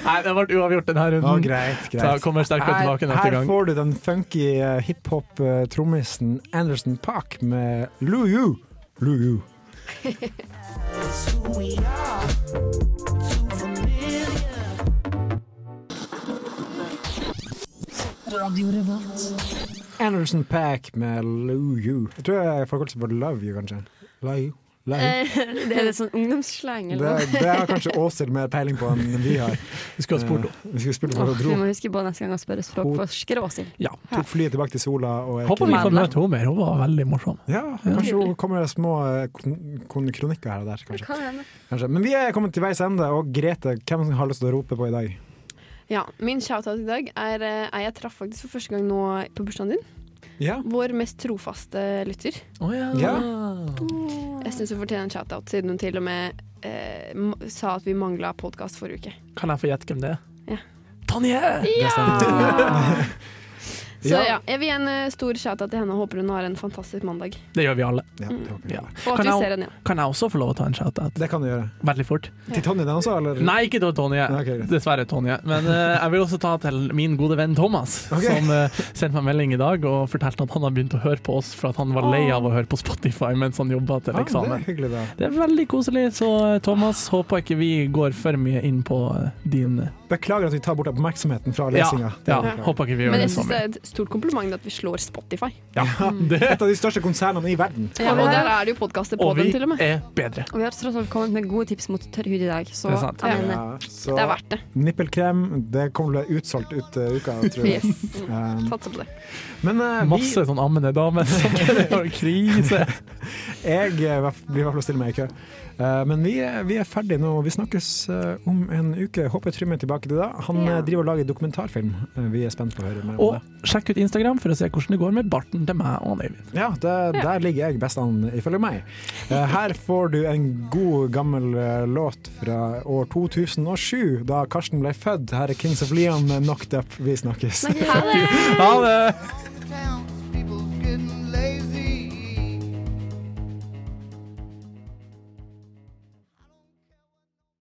Speaker 3: Nei, det ble uavgjort denne
Speaker 2: Ja,
Speaker 3: runden.
Speaker 2: greit,
Speaker 3: Da
Speaker 2: greit.
Speaker 3: kommer sterkere
Speaker 2: Her,
Speaker 3: tilbake neste
Speaker 2: her
Speaker 3: gang.
Speaker 2: får du den funky eh, hiphop-trommisen Anderson Park med Lou You. Lou You. Anderson Pack med Lou You. Jeg tror jeg får kalt for Love You, kanskje. Love You. Love you.
Speaker 4: Eh, det er litt sånn ungdomsslang
Speaker 2: Det,
Speaker 4: eller noe.
Speaker 2: det har kanskje Åshild mer peiling på enn vi har.
Speaker 3: Vi skulle ha spurt
Speaker 2: Eh, Vi skulle spurt hvor
Speaker 4: Åh,
Speaker 2: hun
Speaker 4: vi
Speaker 2: dro.
Speaker 4: må huske på neste gang å spørre språkforsker Åshild.
Speaker 3: Ja.
Speaker 2: Tok flyet tilbake til sola. Og er
Speaker 3: Håper vi
Speaker 2: ikke-
Speaker 3: får møte henne mer. Hun var veldig morsom.
Speaker 2: Ja, kanskje hun kommer med små eh, kon- kon- kronikker her og der. Kanskje.
Speaker 4: Kan hende.
Speaker 2: kanskje. Men vi er kommet til veis ende, og Grete, hvem har lyst til å rope på i dag?
Speaker 5: Ja, Min shoutout i dag er eh, ei jeg traff faktisk for første gang nå på bursdagen din.
Speaker 2: Ja.
Speaker 5: Vår mest trofaste lytter.
Speaker 3: Å ja.
Speaker 5: Jeg syns hun fortjener en shoutout, siden hun til og med eh, m- sa at vi mangla podkast forrige uke.
Speaker 3: Kan jeg få gjette hvem det er?
Speaker 5: Ja.
Speaker 3: Tonje!
Speaker 5: Så ja, jeg vil gi en eh, stor shoutout til henne og håper hun har en fantastisk mandag.
Speaker 3: Det gjør vi alle.
Speaker 2: Ja, det, håper jeg.
Speaker 3: Ja.
Speaker 5: Og at
Speaker 3: Kan
Speaker 5: vi
Speaker 3: jeg-
Speaker 5: ser henne igjen.
Speaker 3: Kan jeg også få lov å ta en shout-out?
Speaker 2: det kan du gjøre.
Speaker 3: Veldig fort.
Speaker 2: Til Tonje den også, eller?
Speaker 3: Nei, ikke til Tonje.
Speaker 2: Nei, ok, greit.
Speaker 3: Dessverre, Tonje. Men eh, jeg vil også ta til min gode venn Thomas,
Speaker 2: Ok.
Speaker 3: som eh, sendte meg melding i dag og fortalte at han har begynt å høre på oss for at han var lei av å høre på Spotify mens han jobba til
Speaker 2: Ja, Ah, det er
Speaker 3: eksamen.
Speaker 2: hyggelig, da.
Speaker 3: Det er veldig koselig, så eh, Thomas, håper ikke vi går for mye inn på eh, din
Speaker 2: Beklager at vi tar bort oppmerksomheten fra
Speaker 3: ja,
Speaker 2: lesinga.
Speaker 3: ja, håper ikke vi gjør
Speaker 5: Men
Speaker 3: det
Speaker 5: jeg
Speaker 3: så
Speaker 5: syns det
Speaker 3: mye.
Speaker 5: er et stort kompliment at vi slår Spotify.
Speaker 3: Ja, det,
Speaker 2: Et av de største konsernene i verden.
Speaker 5: Ja, og der er det jo podkaster på
Speaker 3: og
Speaker 5: dem,
Speaker 3: vi
Speaker 5: til og med.
Speaker 3: er bedre.
Speaker 4: Og vi har tross alt kommet med gode tips mot tørr hud i dag, så
Speaker 3: Det er sant.
Speaker 4: jeg mener,
Speaker 2: Ja, så
Speaker 5: Det er verdt det.
Speaker 2: nippelkrem, det kommer til å bli utsolgt ut eh, uka, tror jeg.
Speaker 5: Yes.
Speaker 2: Um,
Speaker 5: Satser på det.
Speaker 2: men eh, vi,
Speaker 3: Masse sånn ammende damer som er i krise.
Speaker 2: jeg eh, hva- blir i hvert fall å stille meg i kø. Eh, men vi er, vi er ferdige nå. Vi snakkes eh, om en uke. Håper Trym er tilbake til da. Han eh, driver og lager dokumentarfilm. Eh, vi er spent på å høre mer om
Speaker 3: Og sjekk ut Instagram for å se hvordan det går med barten til meg og Øyvind.
Speaker 2: det. Ja, det, Der ligger jeg best an, ifølge meg. Eh, her får du en god, gammel eh, låt fra år 2007, da eh, Karsten ble født. Her er Kings of Leon med Knocked Up. Vi snakkes.
Speaker 3: Ha det!